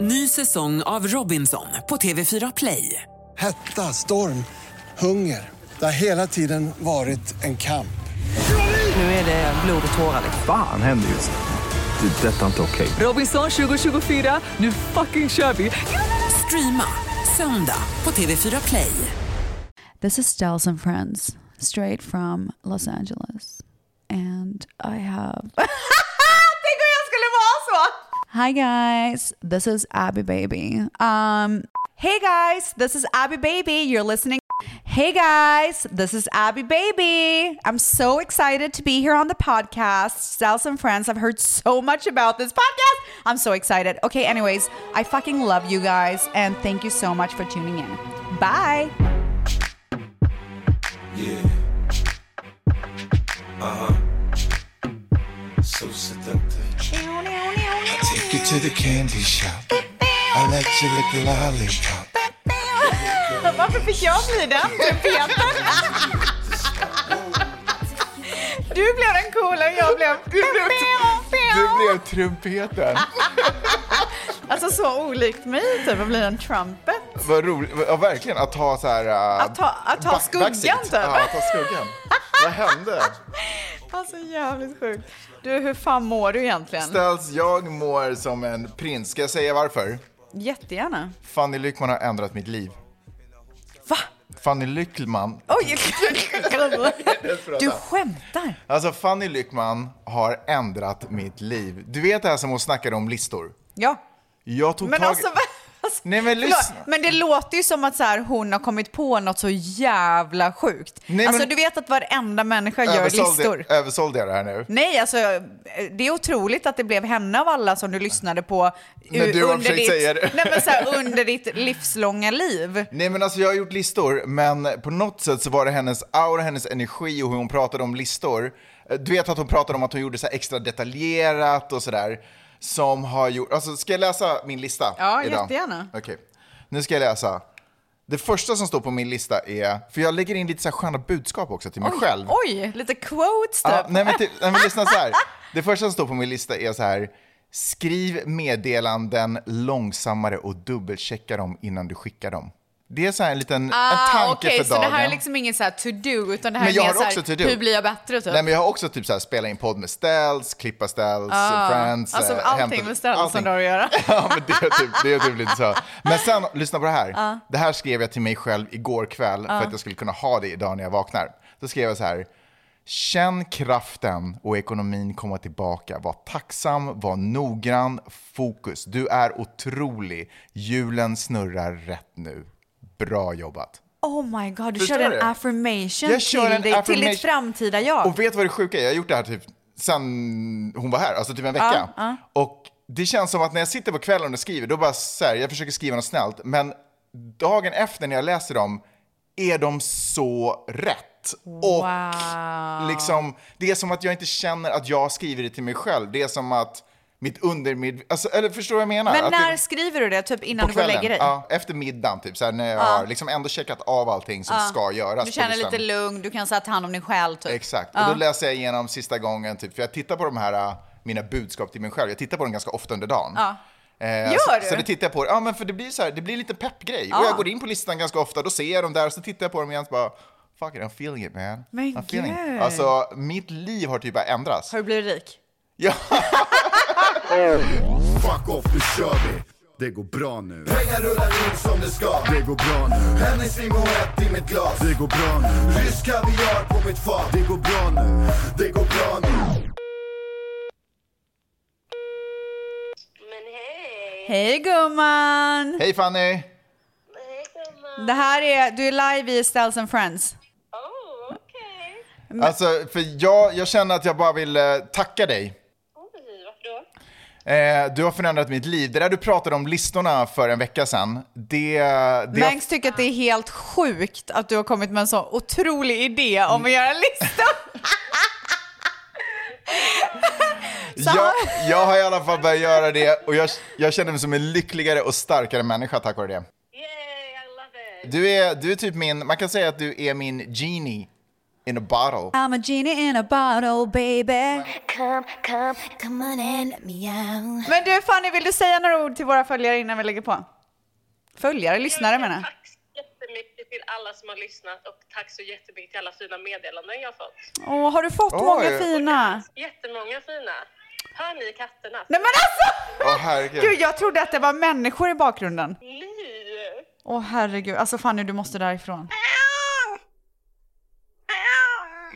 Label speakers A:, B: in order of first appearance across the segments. A: Ny säsong av Robinson på TV4 Play.
B: Hetta, storm, hunger. Det har hela tiden varit en kamp.
A: Nu är det blod och tårar. liksom.
C: Fan händer just nu. Det. är Detta är inte okej.
A: Robinson 2024, nu fucking kör vi! Streama söndag på TV4 Play.
D: This is Styles and Friends, straight from Los Angeles. And I have. Hi guys, this is Abby Baby. Um, hey guys, this is Abby Baby. You're listening. Hey guys, this is Abby Baby. I'm so excited to be here on the podcast. Styles and Friends, I've heard so much about this podcast. I'm so excited. Okay, anyways, I fucking love you guys and thank you so much for tuning in. Bye.
E: Yeah. Uh huh. So seductive. I take you to the candy shop. I let you lick the lollipop.
D: Varför fick jag bli den? Du Peter. Du blev den coola och jag blev... Du blev,
F: Du blev trumpeten.
D: Alltså så olikt mig typ att bli en trumpet.
F: Vad roligt. Ja, verkligen. Att ha så här... äh,
D: Att ta- att ta
F: back-
D: skuggan,
F: backseat.
D: typ.
F: Ja, att ta skuggan. Vad hände?
D: Alltså jävligt sjukt. Du hur fan mår du egentligen?
F: Ställs jag mår som en prins. Ska jag säga varför?
D: Jättegärna.
F: Fanny Lyckman har ändrat mitt liv.
D: Va?
F: Fanny Lyckman.
D: Oj! Du skämtar?
F: Alltså, Fanny Lyckman har ändrat mitt liv. Du vet det här som hon snackade om listor?
D: Ja.
F: Jag tog
D: Men
F: tag...
D: alltså... va- alltså,
F: Nej, men
D: förlåt,
F: lyssna.
D: men det låter ju som att så här, hon har kommit på något så jävla sjukt.
F: Nej, men-
D: alltså du vet att varenda människa gör listor.
F: Översålde jag det här nu?
D: Nej, alltså det är otroligt att det blev henne av alla som du lyssnade på
F: När
D: u-
F: du har försökt
D: ditt,
F: säga det.
D: Nej, men så här, under ditt livslånga liv.
F: Nej men alltså jag har gjort listor, men på något sätt så var det hennes aura, hennes energi och hur hon pratade om listor. Eh, Du vet att hon pratade om att hon gjorde så här extra detaljerat och sådär. Som har gjort, alltså ska jag läsa min lista?
D: Ja, jättegärna.
F: Okej, nu ska jag läsa. Det första som står på min lista är, för jag lägger in lite så här sköna budskap också till mig själv.
D: Oj, lite quotes typ.
F: Ja, nej, men typ, nej men lyssna så här. Det första som står på min lista är så här. Skriv meddelanden långsammare och dubbelchecka dem innan du skickar dem. Det är så här en liten en
D: Ah,
F: tanke
D: Okej,
F: för
D: så
F: dagen.
D: det här är liksom ingen så här to do, utan det här
F: Men jag
D: är mer
F: har
D: så
F: också to
D: här,
F: do.
D: hur blir jag bättre typ?
F: Nej, men jag har också typ så här, spela in podd med Ställs, klippa Ställs, Friends.
D: alltså
F: eh,
D: allting
F: hämta-
D: med ställen som
F: allting.
D: du har att göra.
F: Ja, men det, är typ, det är typ lite så. Men sen, lyssna på det här. Det här skrev jag till mig själv igår kväll för att jag skulle kunna ha det idag när jag vaknar. Då skrev jag så här. Känn kraften och ekonomin komma tillbaka. Var tacksam, var noggrann, fokus. Du är otrolig. Hjulen snurrar rätt nu. Bra jobbat.
D: Oh my god, du
F: Förstår
D: kör
F: du?
D: en affirmation
F: Jag kör
D: till,
F: en
D: dig, till
F: affirmation.
D: ditt framtida jag.
F: Och vet du vad det sjuka är? Jag har gjort det här typ sen hon var här, alltså typ en vecka. Och det känns som att när jag sitter på kvällen och skriver, då bara så här, jag försöker skriva något snällt, men dagen efter när jag läser dem är de så rätt. Och liksom, det är som att jag inte känner att jag skriver det till mig själv. Det är som att mitt undermed... Alltså, eller förstår du vad jag menar?
D: men
F: Att det-
D: när skriver du det? Typ innan
F: på
D: du går och
F: kvällen,
D: lägger dig?
F: ja, efter middagen typ, så här, när jag har liksom ändå checkat av allting som ska göras.
D: Du
F: på
D: känner
F: listan.
D: lite lugn, du kan så här, ta hand om dig själv typ.
F: Exakt. Och då läser jag igenom sista gången, typ, för jag tittar på de här, äh, mina budskap till mig själv. Jag tittar på dem ganska ofta under dagen. Eh,
D: Gör
F: så,
D: du?
F: så det tittar jag på Ja, men för det blir så här, det blir lite peppgrej. Och jag går in på listan ganska ofta, då ser jag dem där, och så tittar jag på dem igen och bara Fuck it, I'm feeling it man.
D: Men
F: I'm feeling
D: gud.
F: it. Alltså, mitt liv har typ bara ändrats.
D: Har du blivit rik?
F: Ja.
G: Fuck off, nu kör vi! Det går bra nu. Pengar rullar in som det ska. Det går bra nu. Hennessy Moët i mitt glas. Det går bra nu. Rysk kaviar på mitt fat. Det går bra nu. Det går bra nu.
H: Men hej!
D: Hej gumman!
F: Hej Fanny!
H: Hej gumman!
D: Det här är, du är live i Styles and Friends.
H: Oh, okej.
F: Alltså, för jag, jag känner att jag bara vill eh, tacka dig.
H: Oj, varför då?
F: Eh, du har förändrat mitt liv. Det där du pratade om listorna för en vecka sedan, det... det
D: Mangs tycker att det är helt sjukt att du har kommit med en så otrolig idé om att göra en lista.
F: Jag, jag har i alla fall börjat göra det och jag, jag känner mig som en lyckligare och starkare människa tack vare det.
H: Yay, I love it!
F: Du är, du är typ min, man kan säga att du är min genie. in a bottle.
D: I'm a genie in a bottle baby.
I: Come, come, come on and let me out.
D: Men du Fanny, vill du säga några ord till våra följare innan vi lägger på? Följare, lyssnare menar jag.
H: Tack så jättemycket till alla som har lyssnat och tack så jättemycket till alla fina meddelanden jag har fått.
D: Åh, har du fått
F: Oj.
D: många fina?
H: Jättemånga fina. Hör ni katterna?
D: Nej men alltså!
F: Åh herregud.
D: Gud, jag trodde att det var människor i bakgrunden.
H: Ni!
D: Åh herregud, alltså Fanny du måste därifrån.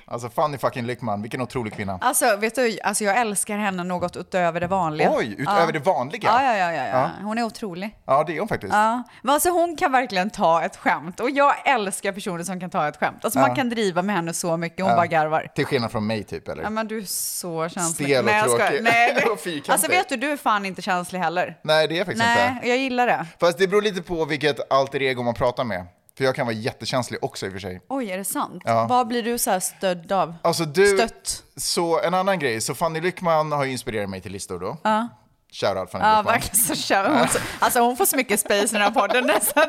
F: Alltså Fanny fucking Lyckman, vilken otrolig kvinna.
D: Alltså vet du, alltså, jag älskar henne något utöver det vanliga.
F: Oj, utöver det vanliga.
D: Ja, ja, ja, ja, ja. Hon är otrolig.
F: Ja, det är hon faktiskt.
D: Ja. Men alltså hon kan verkligen ta ett skämt och jag älskar personer som kan ta ett skämt. Alltså man kan driva med henne så mycket, hon bara garvar.
F: Till skillnad från mig typ, eller?
D: Ja men du är så känslig.
F: Stel och
D: jag skojar.
F: tråkig.
D: Nej,
F: Och
D: du,
F: fyrkantig.
D: alltså vet du, du är fan inte känslig heller.
F: Nej, det är jag faktiskt
D: Nej,
F: inte.
D: jag gillar det.
F: Fast det beror lite på vilket alter ego man pratar med. För jag kan vara jättekänslig också i och för sig.
D: Oj, är det sant?
F: Ja.
D: Vad blir du så här stödd av?
F: Alltså du,
D: Stött.
F: så en annan grej. Så Fanny Lyckman har ju inspirerat mig till listor då. Ja. Shoutout Fanny
D: Ja,
F: Lyckman.
D: verkligen så kör hon. så- Alltså hon får så mycket space i den här podden nästan.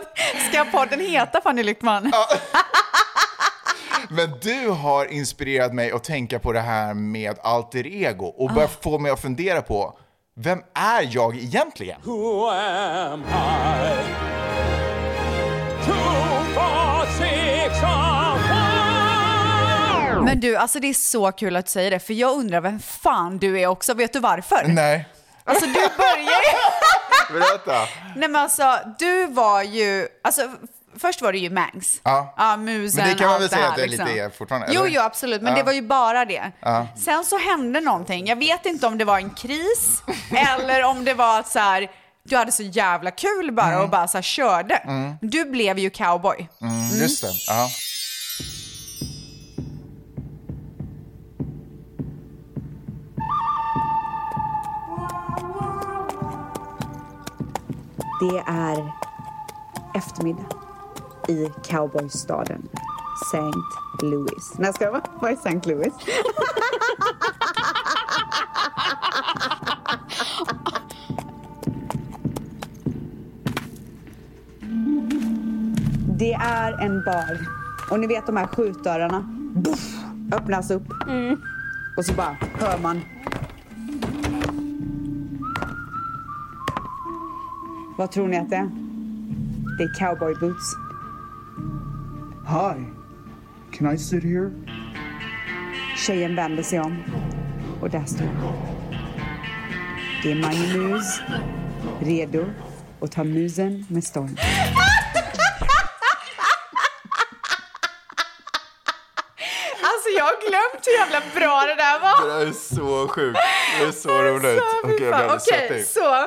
D: Ska podden heta Fanny Lyckman?
F: Men du har inspirerat mig att tänka på det här med alter ego och börjat
D: Ah.
F: få mig att fundera på vem är jag egentligen?
J: Who am I? Two, four, six, or one.
D: Men du, alltså det är så kul att du säger det, för jag undrar vem fan du är också. Vet du varför?
F: Nej,
D: Alltså du börjar
F: berätta.
D: Nej men alltså, du var ju... Alltså, f- först var det ju Mangs.
F: Ja.
D: musen,
F: Men det kan man
D: allt
F: väl säga
D: här,
F: att det är
D: liksom.
F: lite er fortfarande,
D: Jo,
F: eller?
D: jo, absolut. Men
F: Ja.
D: det var ju bara det. Sen så hände någonting. Jag vet inte om det var en kris eller om det var att så här... Du hade så jävla kul bara och bara så här, körde. Du blev ju cowboy.
F: Mm. Just det. Ja.
K: Det är eftermiddag i cowboystaden St. Louis. Nej, ska jag vara? Vad är St. Louis? Det är en bar. Och ni vet de här skjutdörrarna? Buff, öppnas upp. Och så bara hör man. Vad tror ni att det är? Det är cowboy boots.
B: Hi, can I sit here?
K: Tjejen vänder sig om och där står han. Det är Mange Mus, redo att ta musen med storm.
D: Alltså jag har glömt hur jävla bra det där var.
F: Det där är så sjukt. Det är så roligt.
D: Alltså, fy
F: Okej, jag
D: fan.
F: blev alldeles
D: Okej,
F: svettig.
D: så.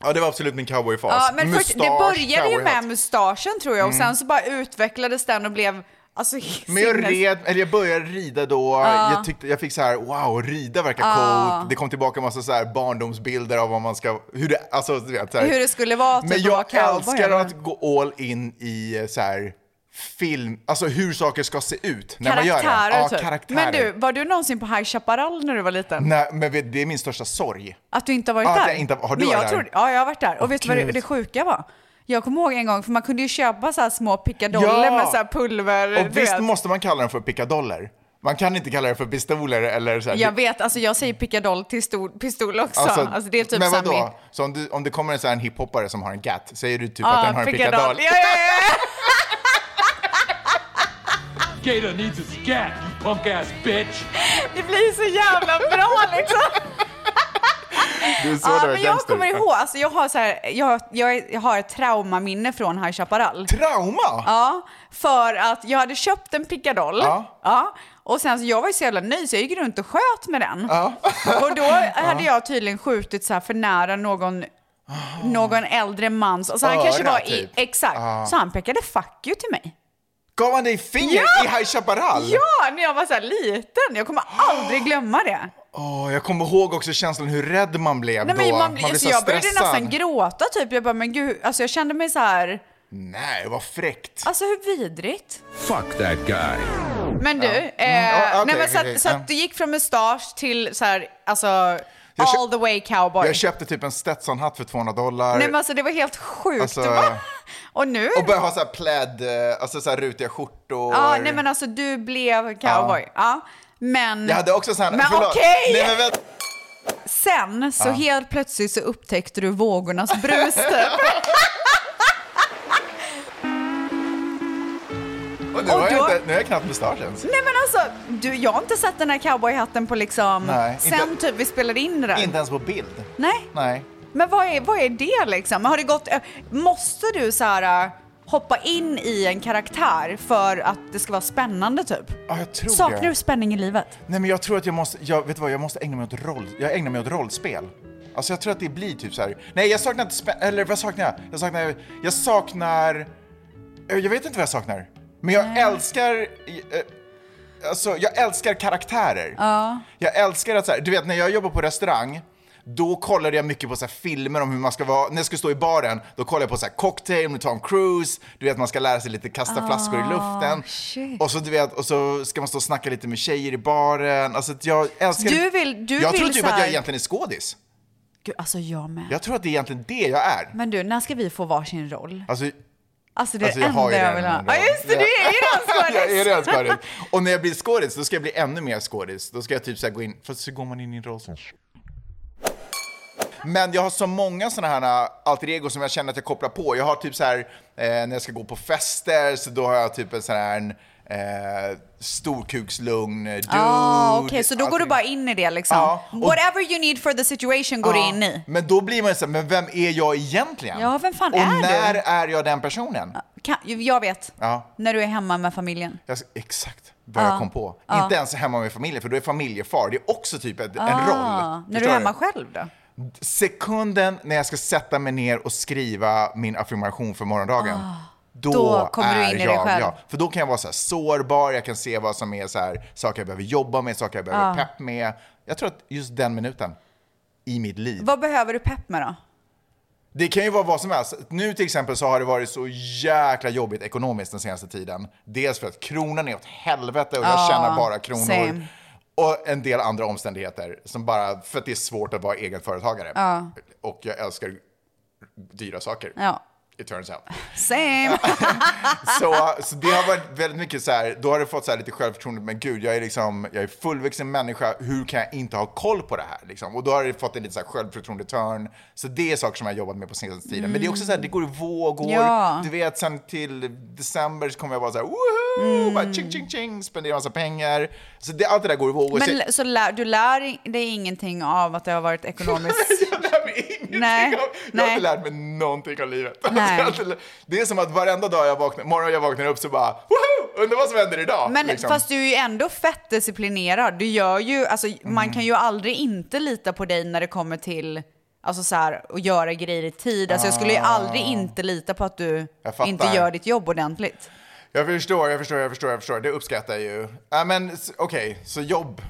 F: Ja, det var absolut min cowboyfas.
D: Ja, men först, det
F: Alltså, Mustasch,
D: började ju med
F: cowboyhatt.
D: mustaschen tror jag och sen så bara utvecklades den och blev alltså helt
F: Mm. Men
D: sinnes-
F: jag red, eller jag började rida då, jag, tyckte, jag fick så här, wow, rida verkar coolt. Det kom tillbaka en massa så här barndomsbilder av vad man ska, hur det, alltså du vet. Så här.
D: Hur det skulle vara, typ,
F: Men
D: att
F: jag
D: vara cowboy,
F: älskar
D: eller?
F: att gå all in i eh, så här film, alltså hur saker ska se ut när man gör det.
D: Karaktärer
F: Ja,
D: typ.
F: karaktärer.
D: Men du, var du någonsin på High Chaparral när du var liten?
F: Nej, men vet, det är min största sorg.
D: Att du inte har varit
F: Ja, att
D: där?
F: jag inte- har du
D: men jag
F: varit där?
D: trodde- ja, jag har varit där. Och
F: Åh,
D: vet du vad det,
F: gud.
D: det sjuka var? Jag kommer ihåg en gång, för man kunde ju köpa så här små pickadoller
F: Ja!
D: med så här pulver. du
F: Och visst
D: vet.
F: måste man kalla den för pickadoller? Man kan inte kalla det för pistoler eller så här,
D: Jag vet, alltså jag säger pickadoll till stor, pistol också. Alltså,
F: Alltså,
D: det är typ
F: men
D: så här
F: vadå?
D: mitt-
F: Så om, du, om det kommer en sån här hiphoppare som har en gat, säger du typ
D: Ja,
F: att den har en pickadoll?
D: Ja, ja, ja, ja.
J: Gator needs a scat, you punk ass bitch.
D: Det blir så jävla bra liksom.
F: Det är
D: Ja,
F: så det
D: men
F: verkligen
D: jag
F: ser ut.
D: kommer ihåg, alltså jag har, så här, jag, jag, jag har ett traumaminne från High Chaparral.
F: Trauma?
D: Ja, för att jag hade köpt en pickadoll.
F: Ja.
D: och sen så jag var ju så jävla nöjd så jag gick runt och sköt med den. och då hade jag tydligen skjutit så här för nära någon någon äldre man, så så han
F: Öra,
D: kanske var i,
F: typ.
D: exakt, så han pekade fuck you till mig.
F: Gav han dig finger
D: Ja!
F: i High Chaparral?
D: Ja, när jag var så här liten, jag kommer aldrig glömma det.
F: Åh, jag kommer ihåg också känslan hur rädd man blev
D: Nej,
F: då.
D: men man, blir-
F: blev
D: så jag började nästan gråta typ, jag bara men gud, alltså jag kände mig så här,
F: Nej, vad fräckt.
D: alltså hur vidrigt.
E: Fuck that guy.
D: Men du, eh,
F: Ja, okej,
D: nej, men så,
F: okej,
D: att, så
F: ja.
D: att du gick från mustasch till så här, alltså
F: Jag kö-
D: all the way cowboy.
F: Jag köpte typ en Stetson-hatt för 200 dollar.
D: nej men alltså det var helt sjukt.
F: Alltså-
D: Och bara- Och nu?
F: Och började ha så här pläd, eh, alltså så här rutiga skjortor.
D: Ja, nej men alltså du blev cowboy. Ja. Men,
F: Jag hade också så här,
D: men
F: förlåt.
D: okej!
F: Nej, men vänta.
D: Sen så
F: Ja.
D: helt plötsligt så upptäckte du vågornas brus. typ.
F: Och nu,
D: Och
F: har jag
D: då-
F: inte, nu har jag knappt mustasch ens.
D: Nej men alltså, du, jag har inte sett den här cowboyhatten på liksom
F: Nej, inte-
D: sen typ vi spelade in det där.
F: Inte ens på bild.
D: Nej,
F: Nej.
D: men vad är, vad är det liksom? Har det gått, eh, måste du så här eh, hoppa in i en karaktär för att det ska vara spännande typ?
F: Ja, jag tror
D: Saknar
F: det.
D: du spänning i livet?
F: Nej men jag tror att jag måste, jag, vet du vad, jag måste ägna mig åt roll, jag ägnar mig åt rollspel. Alltså jag tror att det blir typ så här. nej jag saknar inte spä, eller vad saknar jag? Jag saknar, jag saknar, eh, jag vet inte vad jag saknar. Men jag älskar, eh, alltså jag älskar karaktärer. Jag älskar att så här, du vet när jag jobbar på restaurang, då kollade jag mycket på så här filmer om hur man ska vara, när jag skulle stå i baren, då kollade jag på så här cocktail med Tom Cruise, du vet man ska lära sig lite kasta flaskor i luften.
D: shit.
F: Och så du vet, och så ska man stå och snacka lite med tjejer i baren. Alltså att jag älskar...
D: Du vill- du
F: jag
D: vill
F: tror typ
D: så
F: att jag
D: här-
F: egentligen är skådis.
D: Gud, alltså jag med.
F: Jag tror att det är egentligen det jag är.
D: Men du, när ska vi få varsin roll?
F: Alltså,
D: Alltså det är
F: alltså
D: det
F: jag har
D: enda
F: ju
D: jag
F: redan
D: vill
F: en
D: ha.
F: roll.
D: Ja just det, du är ju redan skådis.
F: jag är redan skådis. Och när jag blir skådis, då ska jag bli ännu mer skådis. Då ska jag typ så här gå in, fast så går man in i en roll så. här. Men jag har så många sådana här äh, alter ego som jag känner att jag kopplar på. Jag har typ så här, eh, när jag ska gå på fester, så då har jag typ en sån här en, eh, storkukslugn eh, dude.
D: Ah, Okej, så då går du
F: Allting.
D: bara in i det liksom.
F: alltså. Ja, och-
D: Whatever you need for the situation går
F: Ja,
D: du in i.
F: Men då blir man ju såhär, men vem är jag egentligen?
D: Ja, vem fan
F: och
D: är du?
F: när är jag den personen?
D: Kan, jag vet.
F: Ja.
D: När du är hemma med familjen.
F: Jag, exakt vad jag kom på. Inte ens hemma med familjen, för då är familjefar, det är också typ ett, en roll.
D: Ah, när du
F: Förstår
D: är hemma själv då?
F: Sekunden när jag ska sätta mig ner och skriva min affirmation för morgondagen. Då,
D: Ah, Då kommer du
F: är
D: in i dig
F: jag,
D: själv.
F: jag. För då kan jag vara så här sårbar, jag kan se vad som är så här, saker jag behöver jobba med, saker jag
D: Ah.
F: behöver pepp med. Jag tror att just den minuten i mitt liv.
D: Vad behöver du pepp med då?
F: Det kan ju vara vad som helst. Nu till exempel så har det varit så jäkla jobbigt ekonomiskt den senaste tiden. Dels för att kronan är åt helvete och jag
D: Ja,
F: tjänar bara kronor.
D: same.
F: Och en del andra omständigheter som bara, för att det är svårt att vara egen företagare. Och jag älskar dyra saker.
D: Ja.
F: It turns out.
D: Same!
F: Så, så det har varit väldigt mycket så här, då har du fått så här lite självförtroende, men gud, jag är liksom, jag är fullvuxen människa, hur kan jag inte ha koll på det här? Liksom? Och då har du fått en lite så här självförtroende-turn. Så det är saker som jag har jobbat med på senaste tiden. Men det är också så här, det går i vågor.
D: Mm. Ja.
F: Du vet, sen till december så kommer jag vara så här, woho!
D: Mm.
F: Bara ching, ching, ching, spendera massa pengar. Så det, allt det där går i vågor. så,
D: Men l- så lär, du lär i- dig ingenting av att det har varit ekonomiskt...
F: Jag lär mig ingenting
D: Nej,
F: av, jag har
D: nej.
F: inte lärt mig någonting av livet. Alltså,
D: Nej.
F: jag har inte lä- det är som att varenda dag jag vaknar, morgon jag vaknar upp så bara, woho! Undrar vad som händer idag?
D: Men
F: liksom.
D: fast du är ju ändå fett disciplinerad. Du gör ju, alltså,
F: Mm.
D: Man kan ju aldrig inte lita på dig när det kommer till alltså, så här, att göra grejer i tid. Alltså, jag skulle ju aldrig inte lita på att du
F: Ah. Jag fattar.
D: inte gör ditt jobb ordentligt.
F: Jag förstår, jag förstår, jag förstår, jag förstår. Det uppskattar jag ju. Ja, men s- okej, så jobb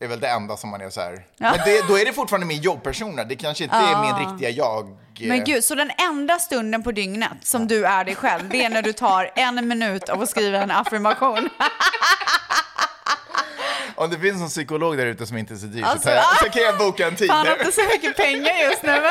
F: är väl det enda som man är så här. Men det, då är det fortfarande min jobbpersona. Det kanske inte är min riktiga jag. eh.
D: Men gud, så den enda stunden på dygnet som du är dig själv, det är när du tar en minut av att skriva en affirmation.
F: Om det finns någon psykolog där ute som inte är så dyr
D: Alltså,
F: så, tar jag,
D: ah!
F: så kan jag boka en tid
D: Han har
F: nu.
D: inte så mycket pengar just nu. Men...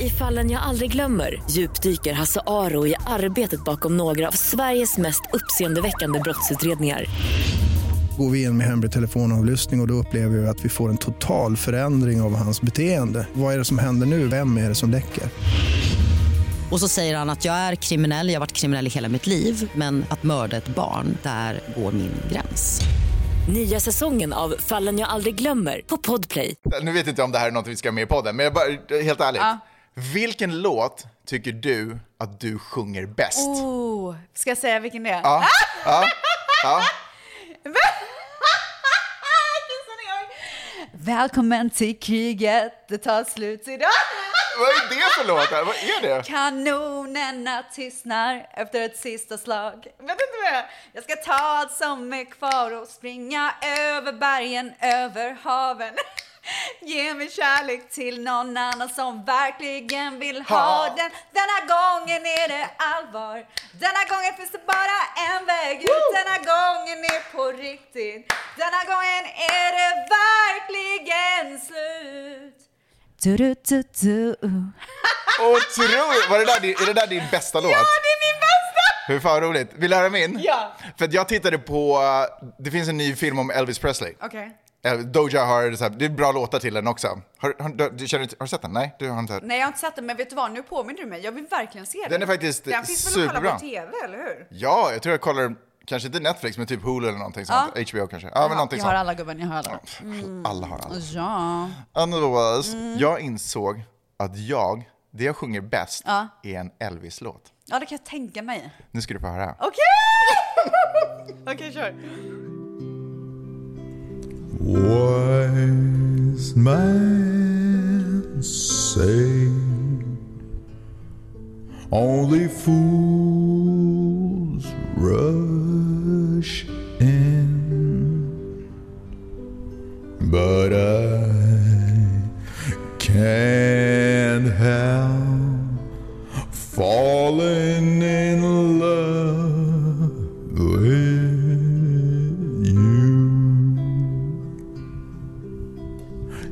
L: I fallen jag aldrig glömmer djupdyker Hasse Aro i arbetet bakom några av Sveriges mest uppseendeväckande brottsutredningar.
M: Går vi in med hemlig telefonavlyssning och, och då upplever vi att vi får en total förändring av hans beteende. Vad är det som händer nu? Vem är det som läcker?
N: Och så säger han att jag är kriminell, jag har varit kriminell i hela mitt liv men att mörda ett barn, där går min gräns.
L: Nya säsongen av Fallen jag aldrig glömmer på Podplay.
F: Nu vet inte jag om det här är något vi ska ha med i podden, men jag bara, helt ärligt. Vilken låt tycker du att du sjunger bäst?
D: Oh, ska jag säga vilken det är? Ah!
F: Ja, ja, ja.
D: Välkommen till kriget, det tar slut idag.
F: Vad är det för låt? Vad är det?
D: Kanonerna tystnar efter ett sista slag. Vänta, vänta, vänta. Jag ska ta allt som är kvar och springa över bergen, över haven. Ge min kärlek till någon annan som verkligen vill ha
F: Ha.
D: den. Denna gången är det allvar. Denna gången finns det bara en väg ut. Denna gången är på riktigt. Denna gången är det verkligen slut. Du, du, du, du.
F: Otroligt! Var det där, din- är det där din bästa låt?
D: Ja, det är min bästa!
F: Hur fan roligt. Vill du höra min?
D: Ja.
F: För att jag tittade på, eh, det finns en ny film om Elvis Presley.
D: Okej.
F: Eh, Doja har, så här, det är bra låtar till den också. Har, har, du, du, känner, har du sett den? Nej, du har inte hört.
D: Nej, jag har inte sett den, men vet du vad? Nu påminner du mig. Jag vill verkligen se den.
F: Den är faktiskt
D: Den finns väl att kolla
F: superbra.
D: på tv, eller hur?
F: Ja, jag tror jag kollar, kanske inte Netflix, men typ Hulu eller någonting
D: Ja.
F: sånt. HBO kanske. Ja, men någonting
D: jag har
F: sånt.
D: alla gubben, jag har alla. Mm.
F: Alla har alla.
D: Ja.
F: Otherwise, jag insåg att jag, det jag sjunger bäst,
D: Ja.
F: är en Elvis-låt.
D: ja, det kan jag tänka mig.
F: Nu ska du få höra.
D: Okej! Okej, kör.
O: Wise men say only fools rush in, but I can't help falling in love with you.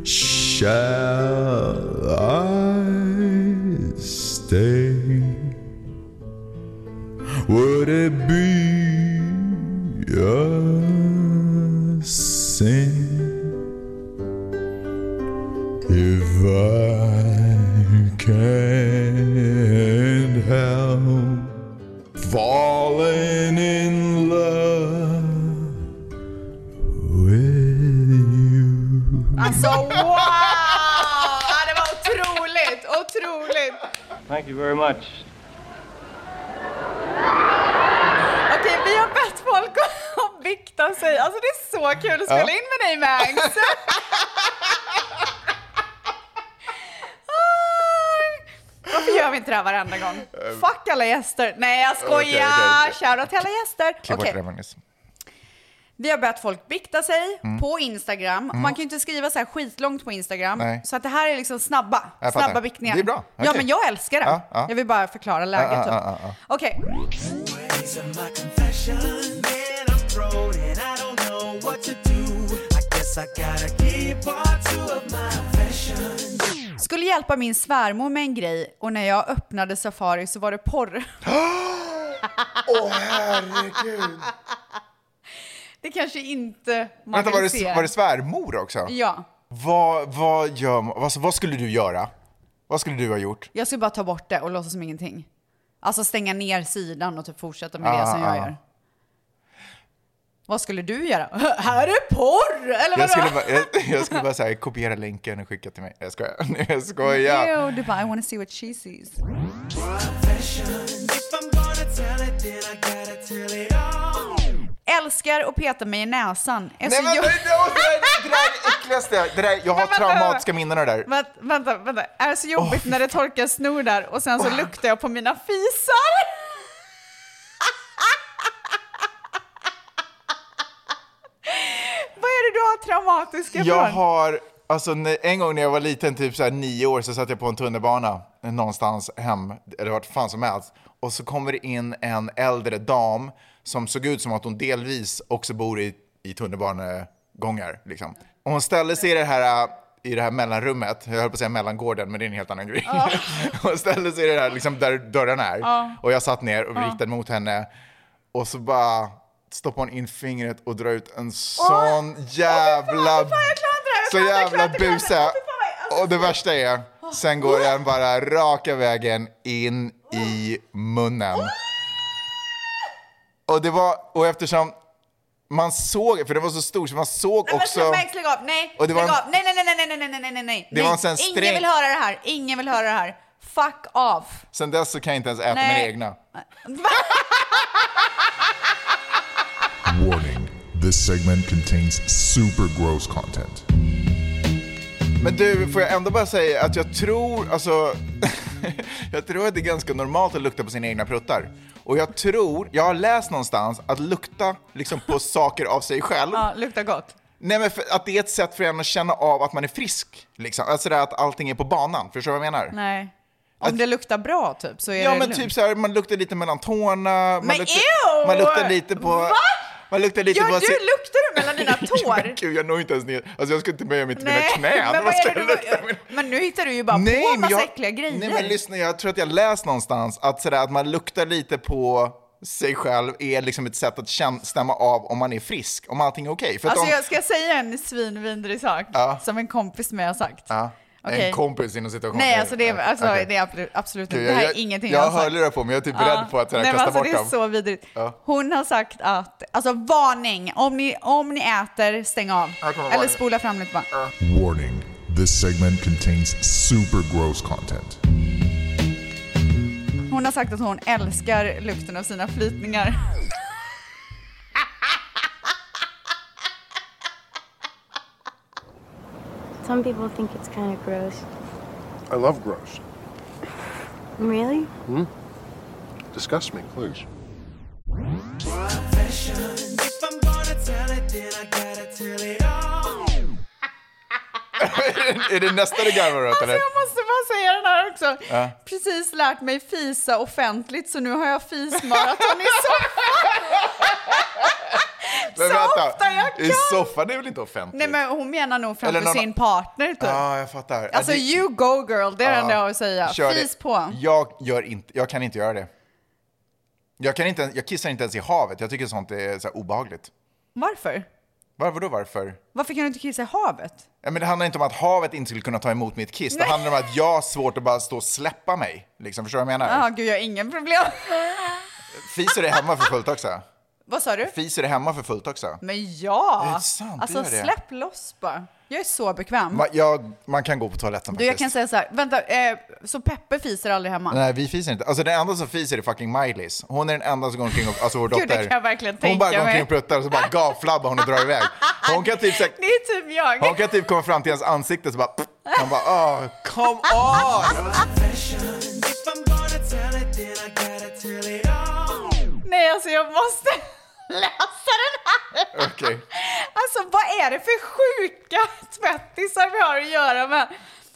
O: Shall I stay? Would it be a sin if I can't help falling in love with you?
D: Alltså, wow! Ja, det var otroligt, otroligt.
P: Thank you very much.
D: Okej, vi har bett folk att bikta sig. Alltså, det är så kul att spela in
F: Ja.
D: med dig, Mangs. Aj. Varför gör vi inte det här varenda gång? Fuck alla gäster. Nej, jag skojar.
F: Ehm. Okej, okej, okej.
D: Shoutout till alla gäster.
F: Klipp bort
D: Okej.
F: det där, Magnus.
D: Vi har bett folk bikta sig
F: Mm.
D: på Instagram.
F: Mm.
D: Man kan ju inte skriva så här skitlångt på Instagram.
F: Nej.
D: Så att det här är liksom snabba,
F: Jag fattar.
D: snabba biktningar.
F: Det är bra.
D: Ja,
F: Okej.
D: men jag älskar det.
F: Ja, ja.
D: Jag vill bara förklara läget.
F: Ah, ah,
D: typ.
F: ah, ah, ah.
D: Okej. Skulle hjälpa min svärmor med en grej och när jag öppnade Safari så var det porr.
F: Åh herregud.
D: Det kanske inte man
F: Vänta, var
D: vill se.
F: det, var det svärmor också?
D: Ja.
F: Vad, vad, gör, man- alltså, vad skulle du göra? Vad skulle du ha gjort?
D: Jag skulle bara ta bort det och låtsas som ingenting. Alltså stänga ner sidan och typ fortsätta med det
F: Ah,
D: som jag
F: ah.
D: gör. Vad skulle du göra? Här är porr! Eller
F: Jag
D: vadå?
F: skulle, bara, jag, jag skulle bara så här, kopiera länken och skicka till mig. Jag skojar. Jag skojar.
D: Ew, du bara, I wanna see what she sees. Älskar och peta mig i näsan. Är
F: Nej,
D: så
F: men
D: jobb-
F: det- Det där är det äckligaste. Det där, jag har
D: alltså, Men vänta,
F: traumatiska minnen av det där.
D: Vänt- Vänta, vänta. Är det så jobbigt när det torkar snor där och sen så luktar jag på mina fisar? Vad är det du har traumatiska
F: Jag
D: från?
F: har, alltså när- en gång när jag var liten, typ så här nio år, så satt jag på en tunnelbana någonstans hem, eller vart fan som helst. Och så kommer det in en äldre dam som såg ut som att hon delvis också bor i, i tunnelbanegångar. Liksom. Och hon ställde sig i det här, äh, i det här mellanrummet, jag höll på att säga mellangården, men det är en helt annan grej. hon ställde sig i det här, liksom, där dörrarna är.
E: Ja.
F: Och jag satt ner och
E: Ja.
F: riktade mot henne. Och så bara stoppar hon in fingret och drar ut en sån jävla... Så jävla busa. Och det värsta är, sen går den bara raka vägen in i munnen. Och det var, och eftersom man såg, för den var så stor så man såg
D: Nej,
F: också...
D: men släpp mig, lägg av! Nej,
F: Och det var
D: lägg
F: en-
D: av! Nej, nej, nej, nej, nej, nej, nej, nej, nej, nej.
F: Det var en sån här
D: Ingen
F: sträng-
D: vill höra det här, ingen vill höra det här. Fuck off!
F: Sen dess så kan jag inte ens äta
D: Nej.
F: mina egna.
O: Warning this segment contains super gross content.
F: Men du, får jag ändå bara säga att jag tror, alltså, jag tror att det är ganska normalt att lukta på sina egna pruttar. Och jag tror, jag har läst någonstans att lukta liksom på saker av sig själv.
D: Ja, luktar gott.
F: Nej men för, att det är ett sätt för en att känna av att man är frisk. Liksom. Alltså det här att allting är på banan, förstår du vad jag menar?
D: Nej. Om det luktar bra typ så är
F: Ja
D: det
F: men
D: lugnt.
F: typ så här, man luktar lite mellan tårna. Man
D: Men
F: luktar,
D: ew!
F: man luktar lite på...
D: Va?
F: Man luktar lite
D: ja,
F: på...
D: du
F: sin-
D: luktar det mellan dina tår.
F: Men gud, jag når inte ens ner. Alltså jag ska inte böja mig till mina
D: Nej,
F: knän.
D: men vad
F: ska
D: är det
F: jag
D: du-
F: lukta?
D: Men nu hittar du ju bara på en
F: men
D: massa
F: jag-
D: äckliga grejer.
F: Nej, men lyssna, jag tror att jag läst någonstans att, sådär, att man luktar lite på sig själv är liksom ett sätt att kän- stämma av om man är frisk, om allting är okej. För att
D: alltså
F: om,
D: jag ska säga en svinvidrig sak
F: Ja.
D: som en kompis med har sagt.
F: ja,
D: Okej.
F: En kompis inom situationen.
D: Nej, alltså det är, alltså,
F: Okej.
D: det är absolut, absolut
F: Gud,
D: det här är
F: jag,
D: ingenting
F: jag
D: jag,
F: har
D: har sagt.
F: hörlurar på mig, jag är typ rädd på att sådär,
D: Nej, men
F: kasta
D: alltså,
F: bort
D: det är så
F: dem.
D: vidrigt.
F: Ja.
D: Hon har sagt att, alltså varning, om ni, om ni äter, stäng av.
O: Jag kommer
D: Eller
O: ihåg.
D: spola fram lite bara.
O: Warning this segment contains super gross content.
D: Hon har sagt att hon älskar lukten av sina flytningar.
I: Some people think it's kind of gross.
P: I love gross.
I: Really?
P: Hmm? Disgust me, please.
E: If I'm gonna tell it, then I gotta tell it all.
F: är det nästa du garvar åt eller?
D: Alltså, Jag måste bara säga den här också.
F: Ja.
D: Precis lärt mig fisa offentligt så nu har jag fismaraton i soffan.
F: Men
D: så
F: vänta,
D: ofta jag
F: I
D: kan.
F: soffan är väl inte offentligt?
D: Nej men hon menar nog framför
F: Eller någon-
D: sin partner typ.
F: Ja, jag fattar.
D: Alltså
F: Ja, det-
D: you go girl, det är det
F: Ja.
D: enda jag har att säga.
F: Kör det.
D: Fis på.
F: Jag, gör inte, jag kan inte göra det. Jag, kan inte, ens- jag kissar inte ens i havet. Jag tycker sånt är så här obehagligt.
D: Varför?
F: Varför då varför?
D: Varför kan du inte kissa i havet?
F: Ja, men det handlar inte om att havet inte skulle kunna ta emot mitt kiss.
D: Nej.
F: Det handlar om att jag har svårt att bara stå och släppa mig. Liksom, förstår du vad jag menar?
D: Ja, gud jag har inga problem.
F: Fiser du hemma för fullt också?
D: Vad sa du?
F: Fiser du hemma för fullt också?
D: Men ja!
F: Är det sant?
D: alltså
F: Du gör det?
D: släpp loss bara. Jag är så bekväm.
F: Man, jag, man kan gå på toaletten
D: Du, jag
F: faktiskt.
D: kan säga så här, vänta, eh, så Peppe fiser aldrig hemma?
F: Nej, vi fiser inte. Alltså den enda som fiser är fucking Miley's. Hon är den enda som går omkring och, alltså vår
D: Gud,
F: dotter.
D: det kan jag verkligen
F: hon bara
D: tänka
F: går omkring
D: mig.
F: och pruttar och så bara gaflabbar hon och drar iväg. Hon kan typ så här,
D: Det är typ jag.
F: Hon kan typ komma fram till hans ansikte så bara... pff. Han bara oh, come on!
E: If I'm gonna tell it, then I gotta tell it all.
D: Nej, alltså jag måste läsa den här.
F: Okej.
D: Alltså vad är det för sjuka tvättisar vi har att göra med?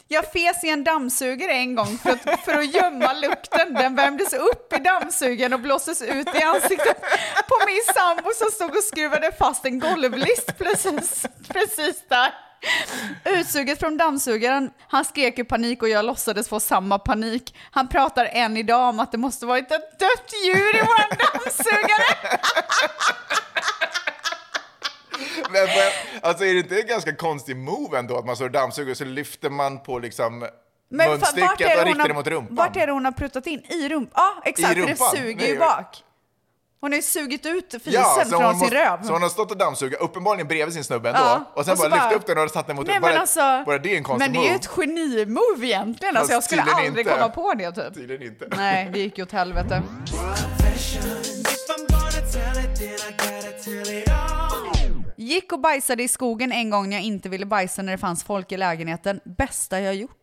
D: Jag fes i en dammsugare en gång för att, för att gömma lukten. Den värmdes upp i dammsugaren och blåstes ut i ansiktet på min sambo som stod och skruvade fast en golvlist precis, precis där. Utsuget från dammsugaren. Han skrek i panik och jag låtsades få samma panik. Han pratar än idag om att det måste varit ett dött djur i våran dammsugare.
F: Men, men, alltså är det inte en ganska konstig move ändå att man står och dammsuger och så lyfter man på liksom
D: Men fa- vart är
F: munstycket och
D: hon
F: riktar det
D: har-
F: mot rumpan?
D: Vart är det hon har pruttat in? I rumpan? Ja, exakt. för
F: rumpan?
D: Det suger
F: Nej,
D: ju
F: jag-
D: bak. Hon har ju sugit ut fisen
F: Ja, så
D: från
F: hon,
D: sin
F: måste,
D: röv.
F: så hon har stått och dammsugit, uppenbarligen bredvid sin snubbe ändå,
D: Ja,
F: och sen
D: och så
F: bara,
D: bara-
F: lyft upp den och satt den mot
D: Nej,
F: bara,
D: men alltså,
F: bara det är en konstig
D: men det är ju
F: move.
D: ett genimove egentligen.
F: Fast
D: Alltså, jag skulle
F: tydligen
D: aldrig
F: inte.
D: komma på det typ.
F: Tydligen inte.
D: Nej, det gick ju åt helvete.
E: If I'm gonna tell it, then I gotta tell it all.
D: Gick och bajsade i skogen en gång när jag inte ville bajsa när det fanns folk i lägenheten. Bästa jag gjort.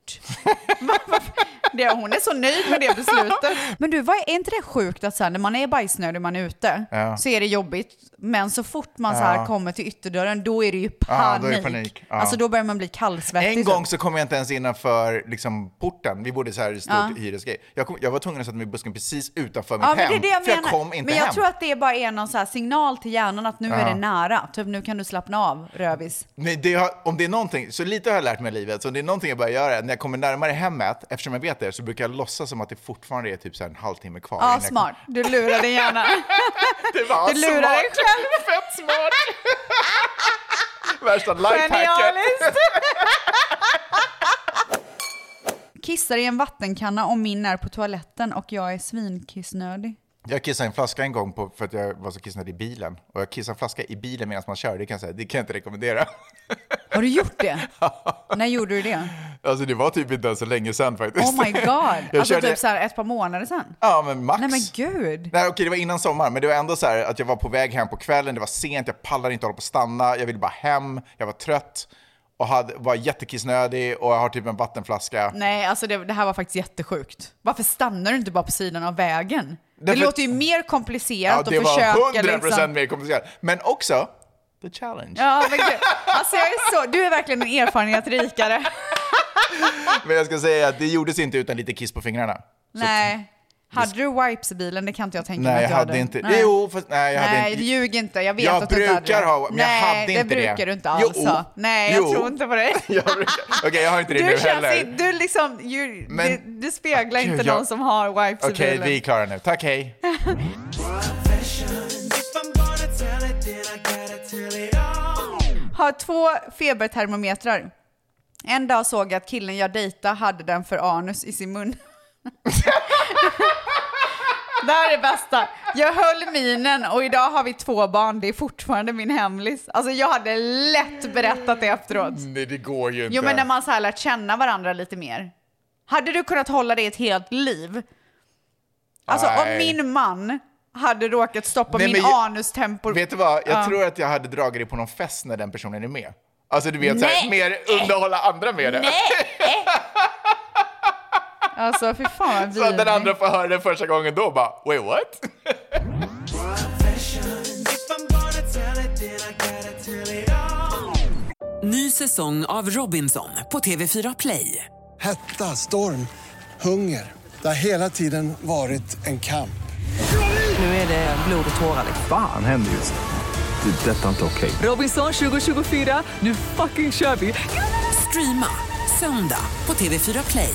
D: det, hon är så nöjd med det beslutet. Men du, vad är, är inte det sjukt att så här, när man är bajsnödig och man är ute
F: Ja.
D: så är det jobbigt. Men så fort man så här
F: Ja.
D: kommer till ytterdörren då är det ju
F: Ja,
D: panik.
F: då är det panik. Ja.
D: Alltså då börjar man bli kallsvettig. typ.
F: En gång så kom jag inte ens innanför liksom, porten. Vi bodde så här i stort
D: Ja.
F: hyresgrej. Jag, kom, jag var tvungen att sätta mig i busken precis utanför mitt
D: Ja, men
F: hem.
D: det är det jag
F: för
D: menar.
F: jag kom inte
D: men jag
F: hem.
D: tror att det bara är någon så här signal till hjärnan att nu
F: Ja.
D: är det nära. Typ nu kan du slappna av, rövis.
F: Nej, det har, om det är någonting, så lite har jag lärt mig i livet, så om det är någonting jag börjar göra, när jag kommer närmare hemmet, eftersom jag vet det, så brukar jag låtsas som att det fortfarande är typ så här en halvtimme kvar. innan
D: Ja,
F: jag
D: smart. Du lurar din hjärna.
F: Det var
D: du lurar dig
F: smart.
D: själv.
F: Fett smart. Värsta lifehacket.
D: Genialiskt! Kissar i en vattenkanna om min är på toaletten och jag är svinkissnödig.
F: Jag kissade en flaska en gång på, för att jag var så kissnödig i bilen. Och jag kissade en flaska i bilen medan man kör, det kan jag säga, det kan jag inte rekommendera.
D: Har du gjort det? När gjorde du det?
F: Alltså det var typ inte ens så länge sedan faktiskt.
D: Oh my god!
F: Jag
D: Alltså
F: körde-
D: typ så här ett par månader sedan.
F: Ja, men max.
D: Nej men gud!
F: Nej, okej, det var innan sommar, men det var ändå så här att jag var på väg hem på kvällen, det var sent, jag pallade inte hålla på att stanna, jag ville bara hem, jag var trött. och hade, var jättekissnödig och jag har typ en vattenflaska.
D: Nej, alltså det, det här var faktiskt jättesjukt. Varför stannar du inte bara på sidan av vägen? Det,
F: Därför-
D: låter ju mer komplicerat
F: det
D: att försöka
F: var 100%
D: liksom...
F: mer komplicerat. Men också, the challenge.
D: Ja, men gud. Alltså jag är så, du är verkligen en erfarenhetsrikare.
F: Men jag ska säga att det gjordes inte utan lite kiss på fingrarna.
D: Nej. Hade du wipes i bilen? Det kan inte jag tänka mig
F: Nej,
D: att
F: jag
D: du
F: hade inte. Jo, fast nej, jag hade
D: nej,
F: inte.
D: ljug inte. Jag vet
F: Jag
D: att du inte hade
F: brukar
D: det.
F: ha- men jag
D: Nej,
F: hade inte det.
D: det brukar du inte
F: Jo.
D: alls ha. Nej, jag
F: Jo.
D: tror inte på dig.
F: Jag brukar- Okej, jag har inte det
D: du
F: nu
D: känns
F: heller.
D: inte- Du liksom, you,
F: Men- Ah,
D: du, du speglar
F: Gud,
D: inte
F: jag-
D: någon som har wipes
F: Okej,
D: i bilen.
F: vi är klara nu. Tack, hej.
D: Har två febertermometrar. En dag såg jag att killen jag dejta hade den för anus i sin mun. det här är det bästa. Jag höll minen och idag har vi två barn. Det är fortfarande min hemlis. Alltså jag hade lätt berättat det efteråt.
F: Nej, det går ju inte.
D: Jo men när man så här lärt känna varandra lite mer. Hade du kunnat hålla det ett helt liv? Alltså om
F: Nej.
D: min man hade råkat stoppa
F: Nej,
D: min
F: men jag-
D: anustempo...
F: Vet du vad? Jag
D: Ja.
F: tror att jag hade dragit det på någon fest när den personen är med. Alltså du vet, så
D: Nej.
F: här, mer underhålla andra med det.
D: Alltså fy fan vad
F: Så att den
D: vidrigt.
F: andra får höra det första gången då bara, wait what?
A: Ny säsong av Robinson på TV4 Play.
B: Hetta, storm, hunger. Det har hela tiden varit en kamp.
A: Nu är det blod och tårar.
C: Fan händer just det. Det är detta inte okej.
A: Robinson 2024, nu fucking kör vi! Streama söndag på TV4 Play.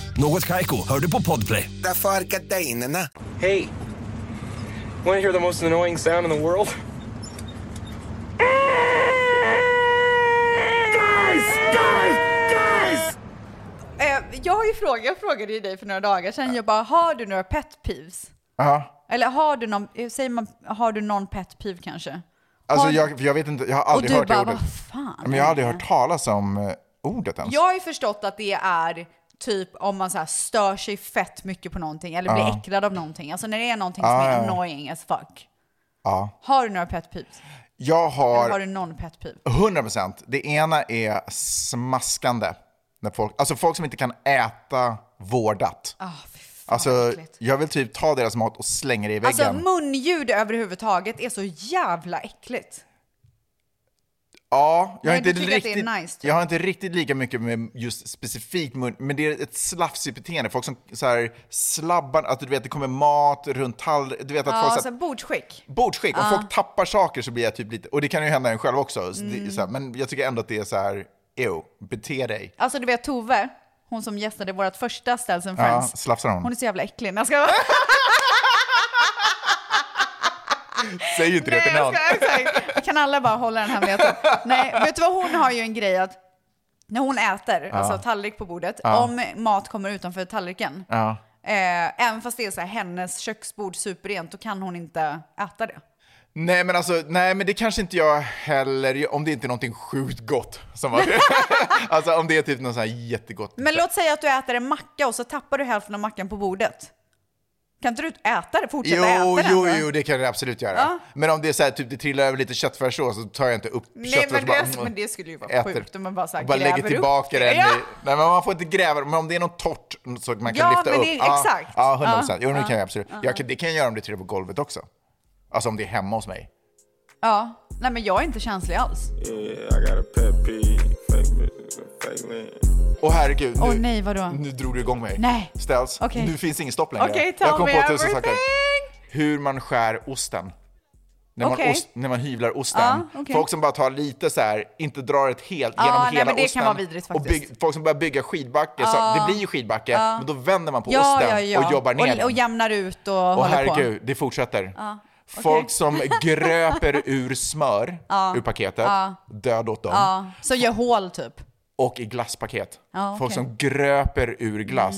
Q: Något Kaiko, hör du på Podplay.
R: Därför är gardinerna.
S: Hey, want to hear the most annoying sound in the world?
D: Eh, jag har ju frågat, jag frågade ju dig för några dagar sedan, jag bara, har du några pet peeves?
F: Ja.
D: Eller har du någon, eh, säger man, har du någon pet peeve kanske?
F: Alltså
D: Har-
F: jag, jag vet inte, jag har aldrig
D: Och du
F: hört det
D: bara,
F: ordet.
D: vad fan
F: Men jag har aldrig hört talas om eh, ordet ens.
D: Jag har ju förstått att det är typ om man så här stör sig fett mycket på någonting eller blir
F: Ja.
D: äcklad av någonting. Alltså när det är någonting
F: Ja,
D: som är
F: ja, ja.
D: annoying as fuck.
F: Ja.
D: Har du några pet peeves?
F: Jag har...
D: Eller har du någon pet peeve?
F: 100 procent. Det ena är smaskande. När folk, alltså folk som inte kan äta vårdat.
D: Ah,
F: alltså, jag vill typ ta deras mat och slänga det i väggen.
D: Alltså munljud överhuvudtaget är så jävla äckligt.
F: ja, jag,
D: Nej,
F: har
D: du
F: inte
D: tycker att det är
F: riktigt,
D: nice, typ.
F: jag har inte riktigt lika mycket med just specifikt mun, men det är ett slafsigt beteende. Folk som så här, slabbar, att du vet det kommer mat runt tallriken. Du vet att
D: Ja,
F: folk så
D: alltså
F: här,
D: bordsskick.
F: Bordsskick, om
D: Ja.
F: folk tappar saker så blir jag typ lite, och det kan ju hända en själv också, så det,
D: Mm.
F: är så här, men jag tycker ändå att det är så här, ew, bete dig.
D: Alltså du vet Tove, hon som gästade vårt första Ställs and
F: Ja,
D: Friends.
F: slafsar hon?
D: Hon är så jävla äcklig. Jag ska...
F: Typ Säg inte det till någon.
D: Exakt. Kan alla bara hålla den hemligheten? Nej, vet du vad hon har ju en grej att när hon äter,
F: Ja.
D: alltså tallrik på bordet,
F: Ja.
D: om mat kommer utanför tallriken,
F: Ja.
D: eh, även fast det är så här, hennes köksbord superrent, då kan hon inte äta det.
F: Nej men alltså, nej men det kanske inte jag heller gör, om det inte är någonting sjukt gott. Som var det. alltså om det är typ något så här jättegott.
D: Men låt säga att du äter en macka och så tappar du hälften av mackan på bordet. Kan inte du äta det? Fortsätta
F: Jo,
D: Typ äta
F: jo,
D: den? då?
F: jo, det kan jag absolut göra.
D: Ja.
F: Men om det är så här, typ det trillar över lite köttfärssås så tar jag inte upp
D: Nej,
F: köttfärssås
D: men
F: och mm,
D: det, men det skulle ju vara
F: äter.
D: sjukt om man bara, så här,
F: bara lägger
D: gräver
F: tillbaka
D: upp det.
F: den i...
D: Ja.
F: Nej, men man får inte gräva men om det är något torrt så man
D: Ja,
F: kan lyfta
D: men
F: upp.
D: det är-
F: Ja,
D: exakt.
F: Ja, 100
D: Ja,
F: procent. Jo, det
D: ja,
F: kan jag absolut.
D: ja.
F: Jag kan, det kan jag göra om det trillar på golvet också. Alltså om det är hemma hos mig.
D: Ja, nej men jag är inte känslig alls.
E: Yeah, I got a pet peeve. Fake bitches and fake men.
F: Åh herregud, nu,
D: Åh nej, vadå?
F: nu drog du igång mig.
D: Nej.
F: Ställs,
D: Okej.
F: nu finns inget stopp längre.
D: Okej, tell
F: jag kom
D: me
F: på tusen saker.
D: everything.
F: Hur man skär osten. När man,
D: Okej.
F: ost, när man hyvlar osten.
D: Ja, okej.
F: Folk som bara tar lite så här, inte drar ett helt
D: Ja,
F: genom
D: nej,
F: hela
D: men det kan
F: osten.
D: vara vidrigt
F: och
D: faktiskt.
F: bygg, folk som börjar bygga skidbacke,
D: Ja.
F: så det blir ju skidbacke,
D: Ja.
F: men då vänder man på
D: ja,
F: osten
D: ja, ja.
F: och jobbar ner
D: Och, och
F: den.
D: jämnar ut och
F: Åh,
D: håller
F: herregud,
D: på.
F: det fortsätter.
D: Ja, okej.
F: Folk som gröper ur smör
D: Ja.
F: ur paketet,
D: Ja.
F: död åt dem.
D: Ja, så gör hål typ.
F: och i glasspaket.
D: Ja, okej. Mm.
F: Folk som gröper ur glass.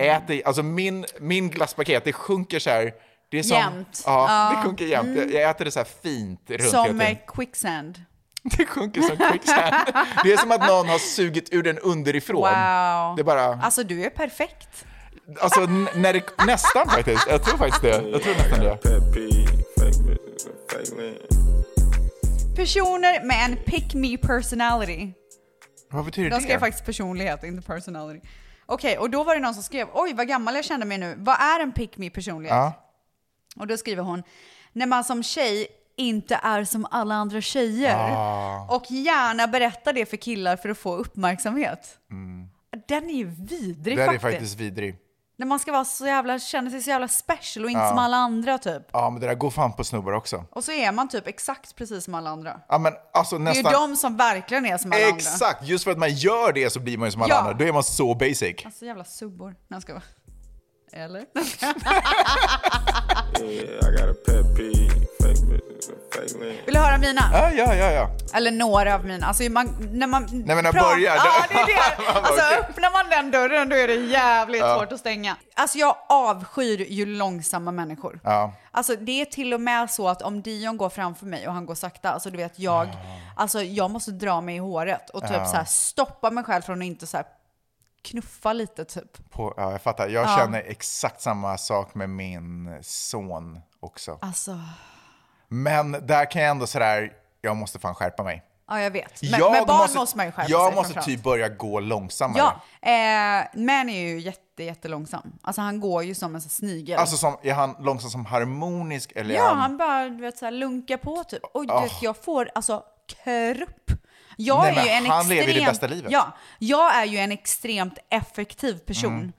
F: Äter, alltså min, min glasspaket, det sjunker så här. Det är som,
D: Jämnt.
F: Ja,
D: Ja.
F: det sjunker jämnt.
D: Mm.
F: Jag, jag äter det så här fint runt hela
D: Som
F: tiden.
D: eh, quicksand.
F: Det sjunker som quicksand. Det är som att någon har sugit ur den underifrån.
D: Wow.
F: Det är bara,
D: Alltså du är perfekt.
F: alltså, n- när det, nästan faktiskt. Jag tror faktiskt det. Jag tror nästan det.
D: Personer med en pick me personality.
F: Vad betyder
D: De
F: det?
D: skrev faktiskt personlighet, inte personality. Okej, och då var det någon som skrev, oj vad gammal jag kände mig nu. Vad är en pick me personlighet?
F: Ja.
D: Och då skriver hon, när man som tjej inte är som alla andra tjejer.
F: Ah.
D: Och gärna berättar det för killar för att få uppmärksamhet. Den är ju vidrig
F: Det här Mm. är
D: faktiskt.
F: faktiskt vidrig.
D: När man ska vara så jävla, känna sig så jävla special och inte
F: Ja.
D: som alla andra typ.
F: Ja, men det där går fan på snubbar också.
D: Och så är man typ exakt precis som alla andra.
F: Ja, men alltså
D: Det är
F: nästan.
D: ju de som verkligen är som alla andra.
F: Exakt! Just för att man gör det så blir man ju som alla
D: Ja.
F: andra. Då är man så basic.
D: Alltså jävla subbor. Nej, jag skojar. Eller? Vill du höra mina?
F: Ja, ja, ja. ja.
D: Eller några av mina. Alltså man, när man...
F: Nej, men när
D: pratar-
F: börjar det-
D: Ja, det är det.
F: Man bara,
D: Alltså
F: okej.
D: öppnar man den dörren då är det jävligt
F: Ja.
D: svårt att stänga. Alltså jag avskyr ju långsamma människor.
F: ja.
D: Alltså det är till och med så att om Dion går framför mig och han går sakta, alltså du vet jag, alltså jag måste dra mig i håret och typ
F: Ja.
D: så här stoppa mig själv från att inte så här knuffa lite typ.
F: På, ja, jag fattar. Jag
D: Ja.
F: känner exakt samma sak med min son också.
D: Alltså,
F: Men där kan jag ändå sådär, jag måste fan skärpa mig.
D: ja jag vet. Men,
F: jag
D: men barn måste, man ju skärpa
F: Jag
D: sig
F: måste
D: framförallt.
F: typ börja gå långsammare.
D: Ja, eh, man är ju jätte, jättelångsam. Alltså han går ju som en sån snigel.
F: Alltså som, är han långsam som harmonisk eller är
D: ja,
F: han-
D: han bara du vet, så här, lunkar på typ. Och du
F: Ah.
D: vet, jag får alltså krupp. Jag
F: Nej,
D: är ju
F: men
D: en
F: han lever
D: extremt,
F: ju det bästa livet.
D: Ja, jag är ju en extremt effektiv person.
F: Mm.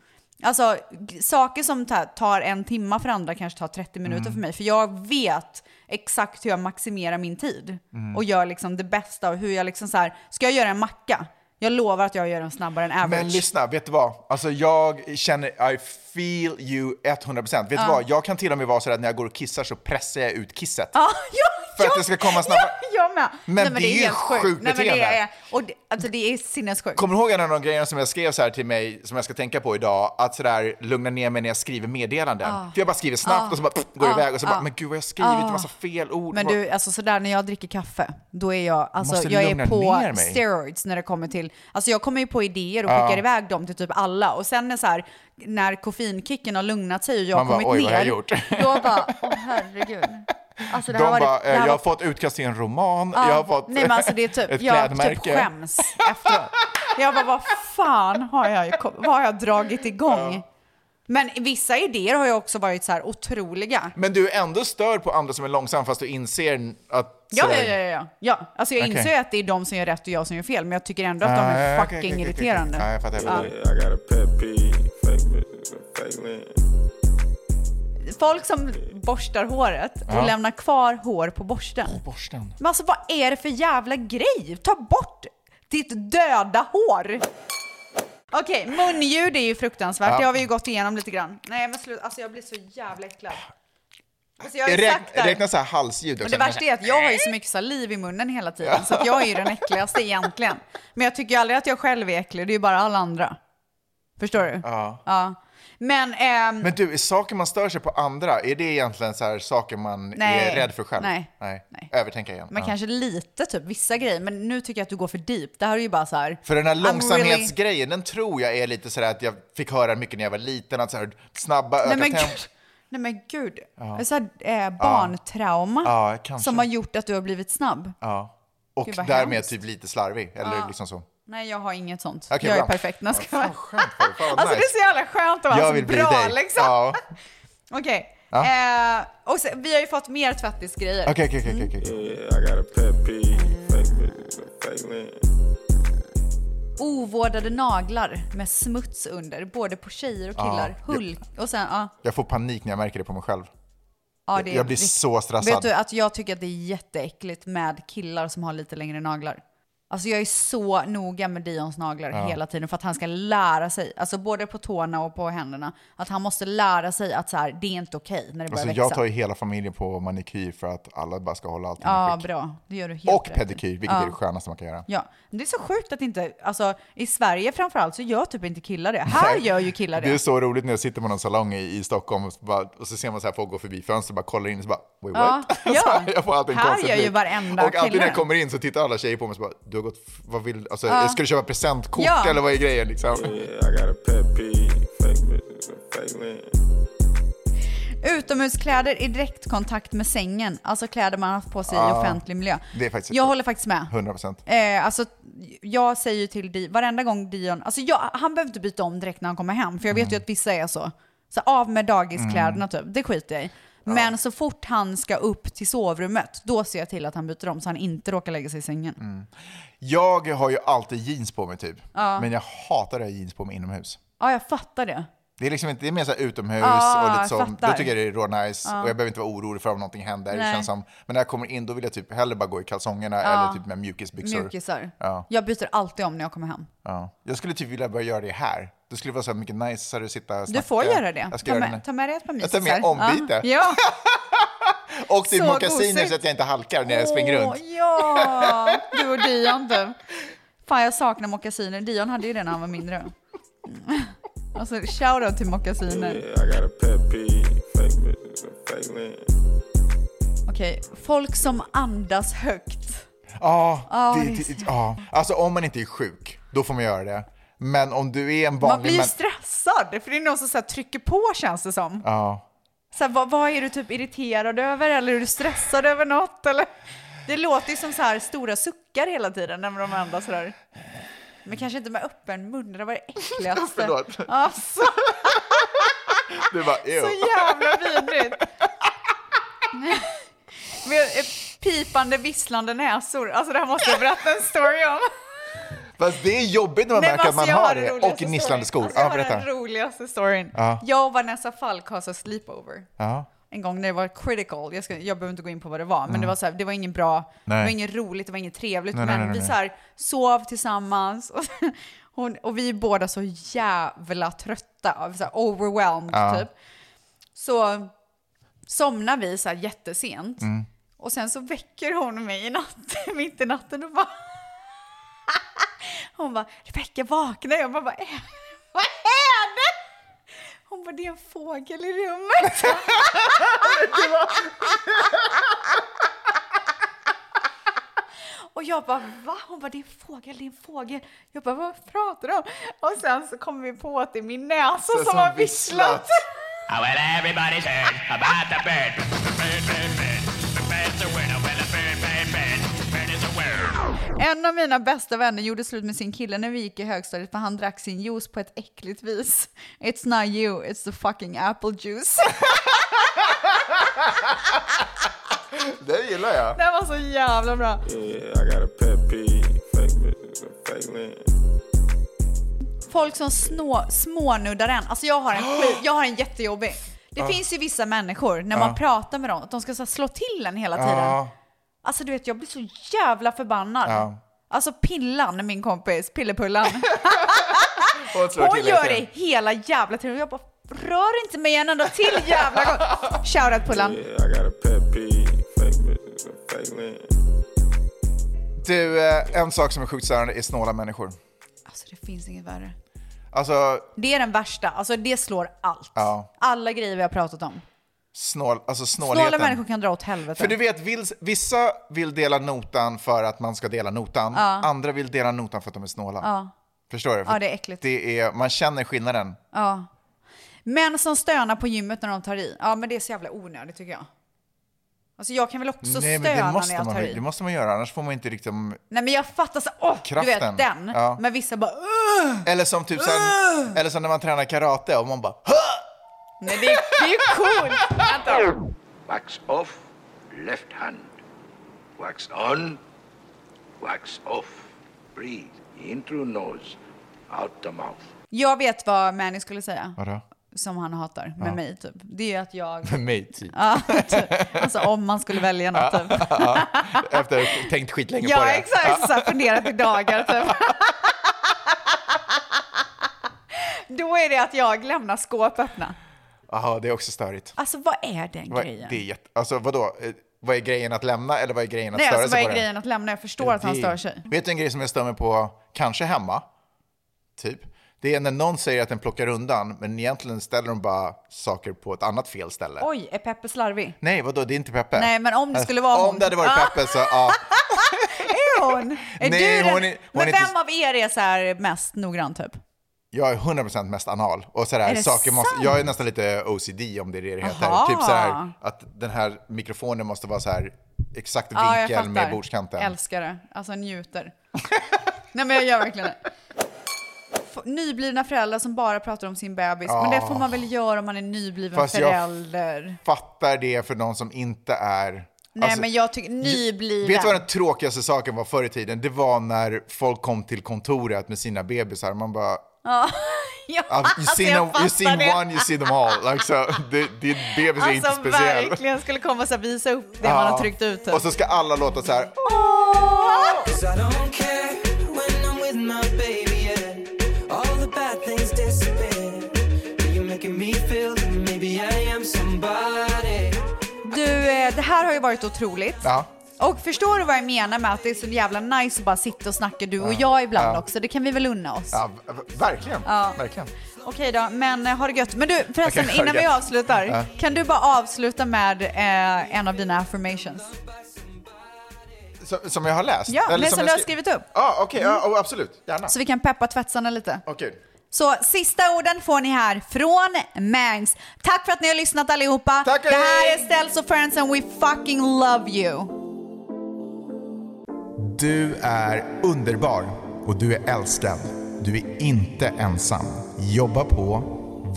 D: Alltså g- saker som ta- tar en timma för andra kanske tar 30 minuter
F: Mm.
D: för mig. För jag vet exakt hur jag maximerar min tid.
F: Mm.
D: Och gör liksom det bästa. Och hur jag liksom så här, ska jag göra en macka? Jag lovar att jag gör den snabbare än average.
F: Men lyssna, vet du vad? Alltså jag känner, I feel you 100%. Vet
D: Ja.
F: du vad? Jag kan till och med vara sådär att när jag går och kissar så pressar jag ut kisset.
D: Ja, ja,
F: För att
D: ja,
F: det ska komma snabbare.
D: Ja, jag med.
F: Men det är ju
D: helt
F: sjukt
D: Nej, men det,
F: beteende.
D: är, och det, alltså, det är sinnessjukt.
F: Kommer du ihåg en av de grejerna som jag skrev så här till mig, som jag ska tänka på idag, att sådär lugna ner mig när jag skriver meddelanden?
D: Ah.
F: För jag bara skriver snabbt
D: Ah.
F: och så bara pff, går
D: Ah.
F: iväg och så
D: Ah.
F: bara, men gud vad jag har skrivit,
D: Ah.
F: en massa fel ord.
D: Men du, alltså sådär när jag dricker kaffe, då är jag, alltså,
F: Måste
D: jag
F: lugna
D: är
F: ner
D: på
F: mig.
D: steroids när det kommer till, alltså jag kommer ju på idéer och
F: Ja.
D: skickar iväg dem till typ alla. Och sen när, så här, när koffeinkicken har lugnat sig och jag har
F: Man bara,
D: kommit
F: oj,
D: ner,
F: vad har jag gjort?
D: då bara, åh herregud. Alltså det
F: de
D: här var det,
F: bara, "Eh,
D: det här
F: jag har
D: var
F: fått utkast till en roman,
D: Ja,
F: jag har fått
D: nej, men alltså det är typ,
F: ett
D: jag
F: klädmärke.
D: typ skäms efteråt. Jag bara, vad fan har jag, kom- vad har jag dragit igång? Men vissa idéer har ju också varit så här otroliga.
F: Men du är ändå störd på andra som är långsam fast du inser att...
D: Ja, ja, ja,
F: sådär-
D: ja, ja. ja. Alltså jag
F: Okej.
D: inser ju att det är de som gör rätt och jag som gör fel, men jag tycker ändå att de är
F: Ah,
D: fucking
F: okej, okej, okej, okej.
D: irriterande.
F: Ja, jag fattar. Jag fattar.
S: I got a pet peeve. Fake me, fake me.
D: Folk som borstar håret
F: Ja.
D: och lämnar kvar hår på borsten.
F: borsten.
D: Men alltså vad är det för jävla grej? Ta bort ditt döda hår! Okej, munljud är ju fruktansvärt.
F: Ja.
D: Det har vi ju gått igenom lite grann. Nej men sluta, alltså jag blir så jävla äcklad. Alltså jag har ju
F: Räk,
D: sagt det här.
F: räkna så här halsljud
D: Men
F: också.
D: det värsta är att jag har ju så mycket saliv i munnen hela tiden, så att jag är ju den äckligaste egentligen. Men jag tycker ju aldrig att jag själv är äcklig, det är ju bara alla andra. Förstår du?
F: Ja.
D: Ja. Men... ehm,
F: Men du, är saker man stör sig på andra, är det egentligen så här saker man
D: Nej.
F: är rädd för själv?
D: Nej.
F: Nej. Övertänka igen.
D: men
F: Ja.
D: kanske lite, typ vissa grejer. Men nu tycker jag att du går för deep. Det här är ju bara så här...
F: För den här
D: I'm
F: långsamhetsgrejen, den tror jag är lite sådär att jag fick höra mycket när jag var liten, att så här, snabba, öka
D: Really... Nej, men
F: tempo.
D: gud. Nej men gud.
F: Ja.
D: Det är Så här, eh, barntrauma
F: Ja, kanske.
D: som har gjort att du har blivit snabb.
F: Ja. Och
D: Gud, vad
F: därmed
D: hemskt.
F: typ lite slarvig, eller
D: Ja.
F: liksom så.
D: Nej, jag har inget sånt.
F: Okej,
D: jag är
F: bra.
D: perfekt. när jag ska vara.
F: Fan vad
D: Alltså det är
F: nice.
D: så jävla skönt att vara
F: Jag
D: så
F: vill bli
D: bra
F: dig.
D: liksom.
F: Ja.
D: Okej.
F: Ja.
D: Eh, och sen, vi har ju fått mer tvättisgrejer.
F: Okej, okej, okej, okej, okej.
S: I got a pet peeve. Fake me, fake me.
D: Ovårdade naglar med smuts under, både på tjejer och
F: Ja.
D: killar. Hulk. Och sen, ja.
F: Jag får panik när jag märker det på mig själv.
D: ja det är
F: jag blir
D: rikt-
F: så stressad.
D: alltså, Vet du att jag tycker att det är jätteäckligt med killar som har lite längre naglar? Alltså jag är så noga med Dions naglar
F: Ja.
D: hela tiden för att han ska lära sig, alltså både på tårna och på händerna, att han måste lära sig att så här, det är inte okej när det börjar
F: Alltså,
D: växa.
F: jag tar ju hela familjen på manikyr för att alla bara ska hålla allting i
D: Ja,
F: skick.
D: bra. Det gör du helt
F: Och
D: rätt i.
F: pedikyr, vilket
D: Ja.
F: är det skönaste man kan göra.
D: Ja, men det är så sjukt att inte, alltså i Sverige framförallt så gör typ inte killar det. Här
F: Nej.
D: gör ju killar det.
F: Det är så roligt när jag sitter på någon salong i, i Stockholm och så, bara, och så ser man så här folk gå förbi fönstret och bara kollar in och så bara wait
D: Ja,
F: what?
D: ja.
F: Så jag får alltid en
D: Här
F: konstig
D: gör ju
F: blick.
D: varenda
F: Och alltid
D: kille
F: när
D: det.
F: jag kommer in så tittar alla tjejer på mig och så bara du har gått, f- vad vill alltså,
D: Ja.
F: ska du köpa presentkort
D: Ja.
F: eller vad är grejen liksom?
D: Utomhuskläder i direktkontakt med sängen, alltså kläder man har haft på sig i
F: Ja.
D: offentlig miljö.
F: Ah. Det är faktiskt
D: Jag håller faktiskt med.
F: 100 procent.
D: Eh, alltså, jag säger ju till Dion, varenda gång Dion, alltså jag, han behöver inte byta om direkt när han kommer hem, för jag vet
F: Mm.
D: ju att vissa är så. Så av med dagiskläderna typ, det skiter jag i. Men så fort han ska upp till sovrummet, då ser jag till att han byter om så han inte råkar lägga sig i sängen.
F: Mm. Jag har ju alltid jeans på mig typ,
D: Ja.
F: men jag hatar att ha jeans på mig inomhus.
D: Ja, jag fattar det.
F: Det är, liksom inte, det är mer så här utomhus
D: Ah,
F: och
D: jag
F: lite så.
D: fattar.
F: Då tycker jag det är raw nice
D: Ah.
F: och jag behöver inte vara orolig för om någonting händer. Det
D: Nej.
F: känns som, men när jag kommer in då vill jag typ hellre bara gå i kalsongerna
D: Ja.
F: eller typ med mjukisbyxor.
D: Mjukisar.
F: Ja,
D: Jag byter alltid om när jag kommer hem.
F: ja. Jag skulle typ vilja börja göra det här. Då skulle det vara så här mycket niceare att sitta och
D: Du
F: snacka.
D: får göra det.
F: Jag ska
D: Ta
F: göra det
D: med,
F: nu.
D: ta med dig ett par
F: Jag tar
D: mysisar.
F: med ombyte.
D: Ja.
F: Och typ
D: Så
F: mockasiner
D: gosigt.
F: så att jag inte halkar när jag
D: Åh,
F: springer runt.
D: Ja, du och Dion du. Fan jag saknar mockasiner. Dion hade ju det när han var mindre. Mm. Alltså shoutout till mockasiner. Okej, folk som andas högt.
F: Ja,
D: Ja,
F: det-
D: det är
F: det- ja. Alltså om man inte är sjuk, då får man göra det. Men om du är en vanlig...
D: Man blir ju
F: men-
D: stressad, för det är någon som så här trycker på känns det som.
F: Ja.
D: Så här, vad, vad är du typ irriterad över eller är du stressad över något? Eller? Det låter ju som så här stora suckar hela tiden när de andas sådär. Men kanske inte med öppen mun, det var det äckligaste.
F: Förlåt.
D: Alltså,
F: Du bara,
D: så
F: ew.
D: jävla vidrigt. Med eh, pipande, visslande näsor. Alltså det här måste jag berätta en story om.
F: Fast det är jobbigt när man
D: Nej,
F: märker att
D: men
F: man
D: alltså,
F: har
D: den
F: det. Och
D: roligaste storyn.
F: gnisslande skor.
D: Alltså,
F: ja,
D: jag har
F: berätta.
D: den roligaste storyn.
F: Ja.
D: Jag och Vanessa Falk har så sleepover.
F: Ja.
D: En gång när det var critical, jag, ska, jag behöver inte gå in på vad det var, men
F: Mm.
D: det var så här, det var inget bra, det
F: Nej.
D: var inget roligt, det var inget trevligt,
F: Nej, nej,
D: men
F: nej, nej,
D: vi
F: nej.
D: så här, sov tillsammans och, hon, och vi är båda så jävla trötta, så här, overwhelmed
F: Ja.
D: typ. Så somnar vi så här jättesent
F: Mm.
D: och sen så väcker hon mig i natten, mitt i natten och bara hon bara, Rebecka vakna. Jag bara, vad är, vad är det? Hon bara, det är en fågel i rummet. Och jag bara, va? Hon bara, det är en fågel, det är en fågel. Jag bara, vad pratar du om? Och sen så kom vi på att det är min näsa
F: Så
D: som,
F: som
D: har visslat.
F: visslat.
T: Oh, well, everybody's heard about the bird. The bird, bird, bird. The bird's a winner. Well, the bird, bird, bird. The bird is a winner.
D: En av mina bästa vänner gjorde slut med sin kille när vi gick i högstadiet för han drack sin juice på ett äckligt vis. It's not you, it's the fucking apple juice.
F: Det gillar jag.
D: Det var så jävla bra. Folk som snå, smånuddar en. Alltså jag har en, skit, jag har en jättejobbig. Det
F: Ja.
D: finns ju vissa människor, när
F: Ja.
D: man pratar med dem, att de ska så här slå till en hela tiden.
F: Ja.
D: Alltså du vet, jag blir så jävla förbannad.
F: Ja.
D: Alltså Pillan, min kompis, Pillepullan,
F: Hon slår
D: hon
F: till hela
D: gör
F: tiden.
D: det hela jävla tiden. Och Jag bara, rör inte mig en enda till jävla gång. Shoutout Pullan.
F: Du, eh, en sak som är sjukt störande är snåla människor.
D: Alltså det finns inget värre.
F: Alltså,
D: Det är den värsta, alltså det slår allt.
F: ja.
D: Alla grejer vi har pratat om.
F: Snål, alltså snålheten.
D: Snåla människor kan dra åt helvete.
F: För du vet, vill, vissa vill dela notan för att man ska dela notan.
D: Ja.
F: Andra vill dela notan för att de är snåla.
D: Ja.
F: Förstår du?
D: Ja, det är äckligt.
F: Det är, man känner skillnaden.
D: Ja. Män som stönar på gymmet när de tar i. Ja, men det är så jävla onödigt tycker jag. Alltså jag kan väl också
F: Nej, men
D: stöna
F: det
D: när
F: måste,
D: jag
F: man,
D: tar i.
F: det måste man göra, annars får man inte riktigt...
D: Nej, men jag fattar så, åh, du
F: Kraften.
D: vet den.
F: Ja.
D: Men vissa bara, "Ugh!"
F: Eller som typ sen,
D: Ah!
F: eller som när man tränar karate och man bara... "Hö!"
D: Nej, det, är- det är ju coolt. Vänta.
U: Wax off, left hand. Wax on, wax off. Breathe in through nose, out the mouth.
D: Jag vet vad Mani skulle säga.
F: Vadå?
D: som han hatar med
F: Ja.
D: mig typ. Det är att jag...
F: Med mig, typ.
D: Ja, typ. Alltså om man skulle välja något typ.
F: Ja, Efter att ha tänkt skitlänge på
D: Ja,
F: det.
D: exakt. Så här, funderat i dagar typ. Då är det att jag lämnar skåp öppna.
F: Jaha, det är också störigt.
D: Alltså vad är den
F: Vad-
D: grejen?
F: Det är jätte... Alltså vadå? Eh, Vad är grejen att lämna eller vad är grejen att
D: Nej,
F: störa
D: alltså vad är
F: sig på den?
D: grejen att lämna? Jag förstår att han
F: Det-
D: stör sig.
F: Vet du en grej som jag stör mig på, kanske hemma, typ? Det är när någon säger att den plockar undan, men egentligen ställer de bara saker på ett annat fel ställe.
D: Oj, är Peppe slarvig?
F: Nej, vadå, det är inte Peppe. Äh,
D: Nej, men om det skulle vara
F: Om
D: hon.
F: det hade varit
D: Ah.
F: Peppe så, ja.
D: Är hon? Är
F: Nej,
D: du den?
F: hon är- hon
D: Men
F: är inte-
D: vem av er är så här mest noggrann typ?
F: Jag är 100% mest anal. Och sådär,
D: Är det
F: saker måste,
D: sant?
F: jag är nästan lite OCD om det är det det heter.
D: Aha.
F: Typ sådär, att den här mikrofonen måste vara så här exakt
D: Ja, jag
F: vinkel med
D: fattar.
F: bordskanten.
D: Älskar det. Alltså njuter. Nej men jag gör verkligen det. F- Nyblivna föräldrar som bara pratar om sin bebis. Men det får man väl göra om man är nybliven
F: Ah. Fast jag-
D: förälder.
F: Fattar det för någon som inte är...
D: Nej
F: Alltså,
D: men jag tycker nybliven.
F: Vet du vad den tråkigaste saken var förr i tiden? Det var när folk kom till kontoret med sina bebisar. Man bara...
D: Ja, ja,
F: "I've- You
D: alltså,
F: seen,
D: jag
F: a, you
D: fattar
F: seen
D: det.
F: one, you seen them all. Like, så, det, din bebis är inte
D: Alltså
F: speciell.
D: verkligen skulle komma och så här visa upp det
F: Ja.
D: man har tryckt ut. typ.
F: Och så ska alla låta så här.
G: Cause I don't care when I'm with my baby, yeah. All the bad things disappear. But You're making me feel that maybe I am somebody.
D: Du, eh, det här har ju varit otroligt.
F: Ja.
D: Och förstår du vad jag menar med att det är så jävla nice att bara sitta och snacka du och
F: Ja.
D: jag ibland
F: Ja.
D: också? Det kan vi väl unna oss?
F: Ja, v- v- verkligen.
D: Ja.
F: verkligen.
D: Okej då, men eh, ha det gött. Men du förresten,
F: Okej, ha det
D: innan vi
F: gött.
D: avslutar,
F: Ja.
D: kan du bara avsluta med eh, en av dina affirmations?
F: Som, som jag har läst?
D: Ja, det som du har
F: jag skri-
D: skrivit upp. Mm.
F: Ja, okej. ja, oh, absolut. Gärna.
D: Så vi kan peppa tvättsarna lite.
F: Okej.
D: Så sista orden får ni här från Mangs. Tack för att ni har lyssnat allihopa. Tack det här är Ställs och Friends and we fucking love you.
F: Du är underbar och du är älskad. Du är inte ensam. Jobba på.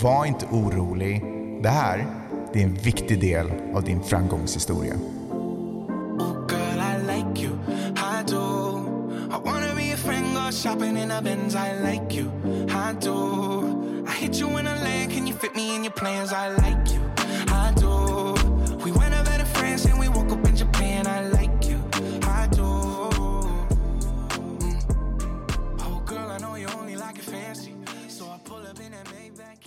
F: Var inte orolig. Det här, det är en viktig del av din framgångshistoria.
E: Girl, I like you, I do. I wanna be a friend, go shopping in a Benz. I like you, I do. I hit you in a land, can you fit me in your plans? I like you, I do. We went over to France and we woke up in Japan. I like you, I do. Mm. Oh, girl, I know you only like it fancy, so I pull up in that Maybach.